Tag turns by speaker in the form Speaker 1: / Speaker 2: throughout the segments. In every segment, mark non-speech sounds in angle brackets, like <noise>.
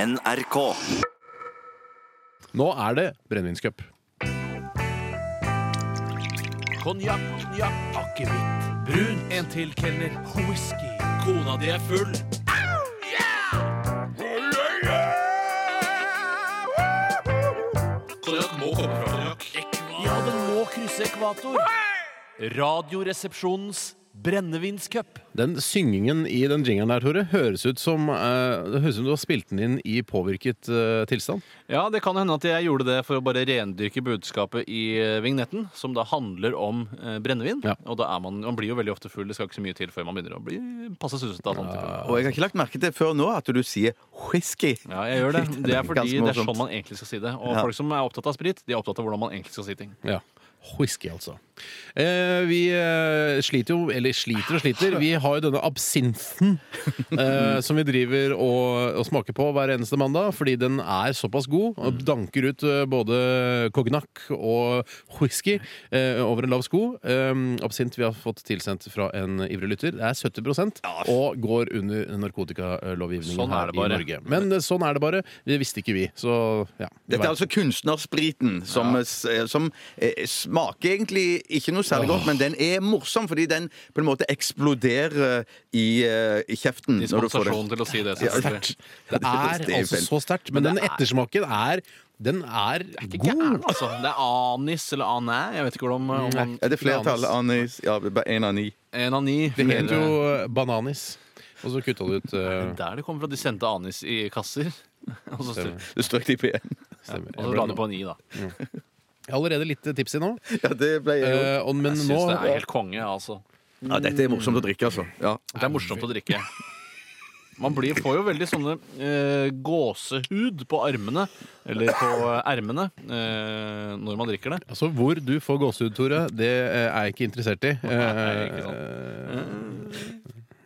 Speaker 1: NRK.
Speaker 2: Nå er det brennevinscup.
Speaker 3: Konjakk, konjakk, akevitt, brun, en til kelner, whisky. Kona di er full. Konjakk må komme fra konjakk. Ja, den må krysse ekvator. Radioresepsjonens brennevinscup.
Speaker 2: Den syngingen i den jingeren der, Tore, høres ut som, eh, det høres ut som du har spilt den inn i påvirket eh, tilstand.
Speaker 4: Ja, det kan hende at jeg gjorde det for å bare rendyrke budskapet i eh, vignetten, som da handler om eh, brennevin.
Speaker 2: Ja.
Speaker 4: Og da er man, man blir jo veldig ofte full, det skal ikke så mye til før man begynner å bli passe susete. av sånn sånne typer.
Speaker 5: Og jeg har ikke lagt merke til før nå at du sier whisky.
Speaker 4: Ja, jeg
Speaker 5: <laughs>
Speaker 4: gjør det. Det er fordi det
Speaker 5: Ganske
Speaker 4: er
Speaker 5: morsomt.
Speaker 4: sånn man egentlig skal si det. Og
Speaker 5: Ja.
Speaker 4: folk som er opptatt av sprit, de er opptatt av hvordan man egentlig skal si ting.
Speaker 2: Ja. Whisky, altså. Eh, vi eh, sliter jo, eller sliter og sliter. Vi har jo denne
Speaker 4: <laughs>
Speaker 2: absinten eh, som vi driver og, og smaker på hver eneste mandag, fordi den er såpass god
Speaker 4: Mm.
Speaker 2: og danker ut eh, både cognac og whisky eh, over en lav sko. Eh, absint vi har fått tilsendt fra en ivrig lytter, det er 70 og går under narkotikalovgivningen
Speaker 4: Sånn er
Speaker 2: her
Speaker 4: det
Speaker 2: i
Speaker 4: bare.
Speaker 2: Norge. Men eh, sånn er det bare. Det visste ikke vi, så ja.
Speaker 5: Dette er altså kunstnerspriten, som, eh, som eh, smaker egentlig ikke noe særlig godt, men den er morsom fordi den på en måte eksploderer i, eh, i kjeften. når du får
Speaker 4: Dispensasjon til å si det.
Speaker 5: Ja,
Speaker 4: selvfølgelig.
Speaker 2: Det er
Speaker 5: <laughs> Det er
Speaker 2: altså
Speaker 5: feil.
Speaker 2: så sterkt, men den ettersmaken er Den er god.
Speaker 4: Gæren, altså. Det er anis eller anæ. Jeg vet ikke hvordan om man
Speaker 5: Ja, det er flertall. Anis. Ja, bare en av ni.
Speaker 4: En ani.
Speaker 2: Det het jo eh, bananis. Og så kutta du ut eh,
Speaker 4: Der det kommer fra. De sendte anis i kasser. <laughs> Og så
Speaker 2: Stemmer.
Speaker 5: Det strøk de på én.
Speaker 2: stemmer.
Speaker 4: og så la de på en i, da.
Speaker 2: Jeg er allerede litt tipsy nå.
Speaker 5: <laughs> Ja, det ble jeg jo.
Speaker 2: eh, og, men
Speaker 4: Jeg
Speaker 2: nå
Speaker 4: syns det er helt konge, altså.
Speaker 5: Ja, dette er morsomt å drikke, altså. Ja.
Speaker 4: Det er morsomt å drikke. Man blir, får jo veldig sånne eh, gåsehud på armene, eller på eh, ermene, eh, når man drikker det.
Speaker 2: Altså, Hvor du får gåsehud, Tore, det eh, er jeg ikke interessert i. Eh,
Speaker 4: Nei, ikke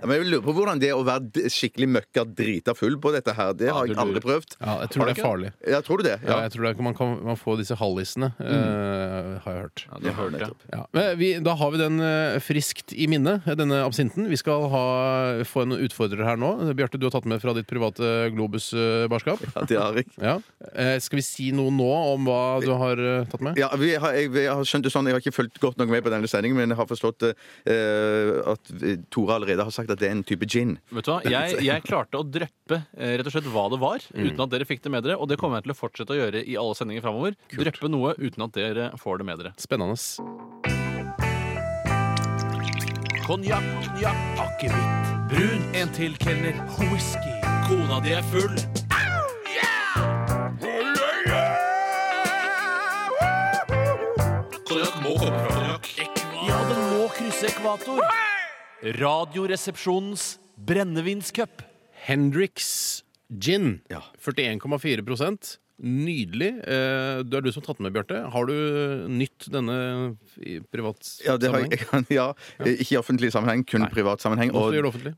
Speaker 5: Ja, Men jeg lurer på hvordan det er å være d- skikkelig møkka drita full på dette her. Det har
Speaker 4: du
Speaker 5: jeg aldri prøvd.
Speaker 2: ja, jeg
Speaker 5: Har
Speaker 2: tror
Speaker 5: du
Speaker 2: det er
Speaker 5: ikke?
Speaker 2: farlig.
Speaker 5: Ja, tror du det?
Speaker 2: Ja, jeg tror det er, man, kan, man får disse hallisene, eh, har jeg hørt.
Speaker 4: Ja, det hørte jeg.
Speaker 2: Ja, men vi, da har vi den eh, friskt i minne, denne absinten. Vi skal ha, få en utfordrer her nå. Bjarte, du har tatt med fra ditt private Globus-barskap.
Speaker 5: Ja, det har jeg.
Speaker 2: Ja. Eh, skal vi si noe nå om hva du har eh, tatt med?
Speaker 5: Ja, vi har, jeg, jeg har skjønt det sånn, jeg har ikke fulgt godt nok med på denne sendingen, men jeg har forstått eh, at Tore allerede har sagt at det er en type gin.
Speaker 4: Vet du hva? Jeg, jeg klarte å dreppe eh, rett og slett hva det var,
Speaker 3: Mm.
Speaker 4: uten at dere fikk det med dere. Og det kommer jeg til å fortsette å gjøre i alle sendinger framover. Dreppe noe uten at dere får det med dere.
Speaker 2: Spennende.
Speaker 3: Konjakk, konjakk, akevitt, brun, en til kelner, whisky. Kona di er full. Konjakk må komme fra konjakk. Ja, den må krysse ekvator.
Speaker 4: Radioresepsjonens brennevinscup.
Speaker 2: Hendrix gin.
Speaker 5: Ja.
Speaker 2: 41,4 Nydelig. Eh, det er du som har tatt den med, Bjarte. Har du nytt denne i privat
Speaker 5: Ja, det har jeg,
Speaker 2: sammenheng?
Speaker 5: <laughs> ja, eh, ikke i offentlig sammenheng, kun privat sammenheng.
Speaker 2: Nå skal du gjøre det offentlig.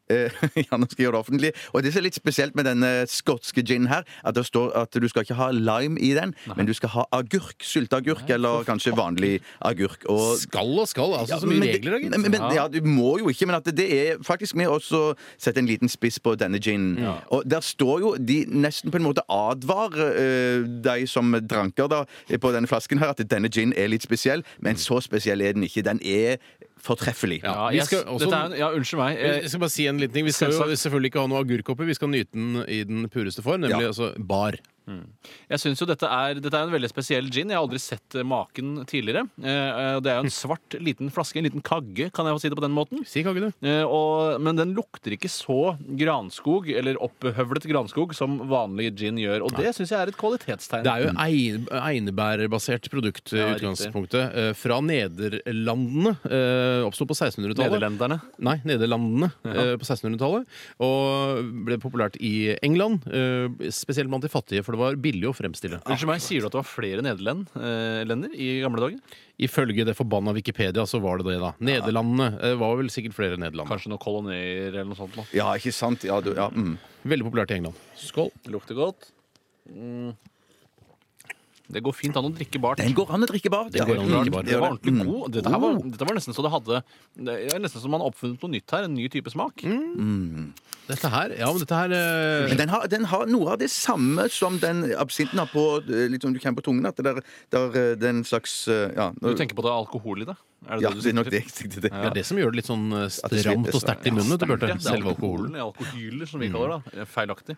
Speaker 5: Eh, <laughs> ja, nå skal jeg gjøre det offentlig. Og det som er litt spesielt med denne skotske ginen her, at det står at du skal ikke ha lime i den, men du skal ha agurk, sylteagurk, eller kanskje vanlig agurk. Og
Speaker 2: Skal og skal. altså Så
Speaker 5: men
Speaker 2: mye
Speaker 5: det-
Speaker 2: regler, da, gitt.
Speaker 5: Men, men, ja, du må jo ikke, men at det er faktisk med også å sette en liten spiss på denne ginen. Og der står jo de nesten på en måte advarer eh, de som dranker da, eh, på denne flasken her, at denne ginen er litt spesiell, men så spesiell er den ikke. Den er fortreffelig.
Speaker 2: Ja,
Speaker 4: Ja,
Speaker 2: vi
Speaker 4: jeg,
Speaker 2: skal også-
Speaker 4: dette er, en- ja, unnskyld meg.
Speaker 2: Jeg
Speaker 4: Eh,
Speaker 2: skal bare si en liten ting. Vi skal jo
Speaker 4: Selvsagt.
Speaker 2: selvfølgelig ikke ha noe agurk oppi. Vi skal nyte den i den pureste form, nemlig
Speaker 5: Ja.
Speaker 2: altså bar.
Speaker 4: Jeg synes jo dette er, dette er en veldig spesiell gin. Jeg har aldri sett eh, maken tidligere. Eh, eh, Det er jo en svart liten flaske, en liten kagge, kan jeg få si det på den måten.
Speaker 2: Si kake, du.
Speaker 4: Eh, Og, men den lukter ikke så granskog, eller opphøvlet granskog, som vanlig gin gjør. Og det syns jeg er et kvalitetstegn.
Speaker 2: Det er jo ein- einebærbasert produkt i
Speaker 4: Ja, riktig.
Speaker 2: utgangspunktet. eh, Fra Nederlandene. eh, Oppsto på 1600-tallet.
Speaker 4: Nederlenderne.
Speaker 2: Nei, Nederlandene eh, på 1600-tallet. Og ble populært i England. eh, Spesielt blant de fattige, for det var billig å fremstille.
Speaker 4: Unnskyld meg, Sier du at det var flere nederlender i gamle dager?
Speaker 2: Ifølge det forbanna Wikipedia så var det det, da. Nederlandene eh, var vel sikkert flere nederland.
Speaker 4: Kanskje noen kolonier eller noe sånt? nå.
Speaker 5: Ja, ikke sant? Ja, du, ja, mm.
Speaker 2: Veldig populært i England. Skål.
Speaker 4: Lukter godt. Mm. Det går fint an å drikke bart.
Speaker 5: Den går an å drikke bart.
Speaker 2: Den går an å
Speaker 5: Ja,
Speaker 2: drikke bart.
Speaker 5: gjør
Speaker 4: Det var ordentlig god. Dette, her var,
Speaker 5: Oh.
Speaker 4: dette var nesten så det hadde Det er nesten som man har oppfunnet noe nytt her. En ny type smak.
Speaker 5: Mm.
Speaker 2: Dette her, ja, men dette her eh,
Speaker 5: Men den har, den har noe av det samme som den absinten har på eh, litt som du kjenner på tungen. At det der, der eh, den slags eh, ja,
Speaker 4: Du tenker på det alkohol i det? Er det
Speaker 5: ja,
Speaker 4: det du
Speaker 5: det er nok
Speaker 4: sikter til?
Speaker 5: det jeg tenkte. Det.
Speaker 2: Det er det som gjør det litt sånn eh,
Speaker 5: det slipper
Speaker 2: stramt og
Speaker 5: seg.
Speaker 2: sterkt i munnen. vet du, Bjarte.
Speaker 4: Ja, det er
Speaker 2: Selve alkoholen.
Speaker 4: alkoholen, Alkohyler, som vi kaller det. da. Feilaktig.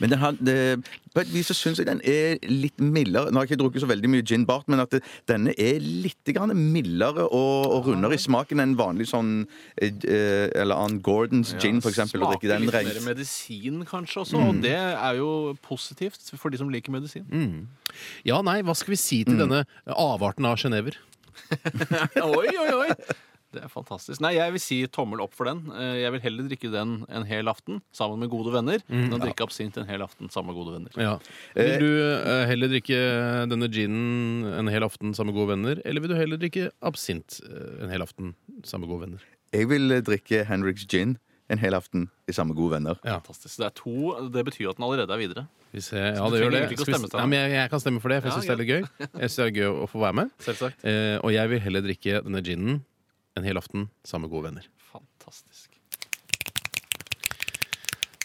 Speaker 5: Men den har, det, på et vis så syns jeg den er litt mildere. Nå har jeg ikke drukket så veldig mye gin bart, men at det, denne er litt grann mildere og, og rundere i smaken enn vanlig sånn eh, eh, Eller Ann Gordons gin, for eksempel. Å drikke
Speaker 4: Smaker
Speaker 5: den
Speaker 4: litt
Speaker 5: rent. Mm.
Speaker 4: mer medisin, kanskje, også. Og det er jo positivt for de som liker medisin.
Speaker 2: Ja, nei, hva skal vi si til denne eh, avarten av sjenever?
Speaker 4: <laughs> oi, oi, oi! Det er fantastisk. Nei, jeg vil si tommel opp for den. Eh, Jeg vil heller drikke den en hel aften sammen med gode venner
Speaker 5: Mm.
Speaker 4: enn å drikke absint en hel aften sammen med gode venner.
Speaker 2: Ja. Vil du eh, heller drikke eh, denne ginen eh, en hel aften sammen med gode venner, eller vil du heller drikke absint eh, en hel aften sammen med gode venner?
Speaker 5: Jeg vil eh, drikke Henriks gin en hel aften i samme gode venner.
Speaker 2: Ja.
Speaker 4: Fantastisk. Det er to, det betyr at den allerede er videre.
Speaker 2: Skal vi se. Ja,
Speaker 4: Så du
Speaker 2: det gjør
Speaker 4: trenger
Speaker 2: det.
Speaker 4: egentlig ikke å
Speaker 2: Skal vi
Speaker 4: stemme
Speaker 2: se.
Speaker 4: til
Speaker 2: Nei,
Speaker 4: deg.
Speaker 2: men jeg, jeg kan stemme for det, for jeg
Speaker 4: Ja,
Speaker 2: syns det er litt gøy. Jeg synes det er gøy å få være med.
Speaker 4: Selvsagt.
Speaker 2: Eh, og jeg vil heller drikke denne ginen en hel aften sammen med gode venner.
Speaker 4: Fantastisk.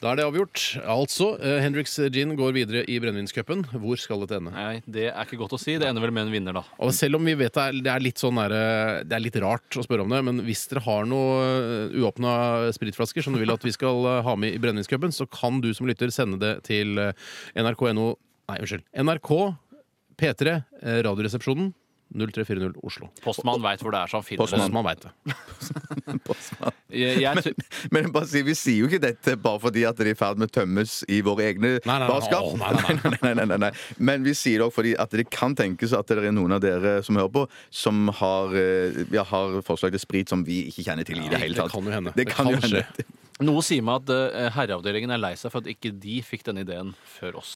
Speaker 2: Da er det avgjort. Altså, eh, Hendrix gin går videre i brennevinscupen. Hvor skal dette ende?
Speaker 4: Nei, det er ikke godt å si. Det ender vel med en vinner, da.
Speaker 2: Og selv om vi vet det er, det er litt sånn der, Det er litt rart å spørre om det, men hvis dere har noen uåpna spritflasker som du vil at vi skal eh, ha med i brennevinscupen, så kan du som lytter sende det til eh, nrk.no Nei, unnskyld. NRK P3 eh, Radioresepsjonen 0340 Oslo.
Speaker 4: Postmann veit hvor det er, så han finner
Speaker 2: Sånn som
Speaker 5: Postmann.
Speaker 2: man veit det.
Speaker 4: det. Jeg, jeg, tror-
Speaker 5: <laughs> Men jeg bare sier, vi sier jo ikke dette bare fordi at de er i ferd med å tømmes i våre egne
Speaker 2: nei, nei.
Speaker 5: barskap.
Speaker 2: Å, nei, nei,
Speaker 5: <laughs> nei, nei, nei, nei. Men vi sier det også fordi at det kan tenkes at det er noen av dere som hører på, som har, eh, ja, har forslag til sprit som vi ikke kjenner til i det hele
Speaker 2: det
Speaker 5: tatt.
Speaker 2: kan jo hende.
Speaker 5: Det kan jo hende.
Speaker 4: noe sier meg at eh, herreavdelingen er lei seg for at ikke de fikk denne ideen før oss.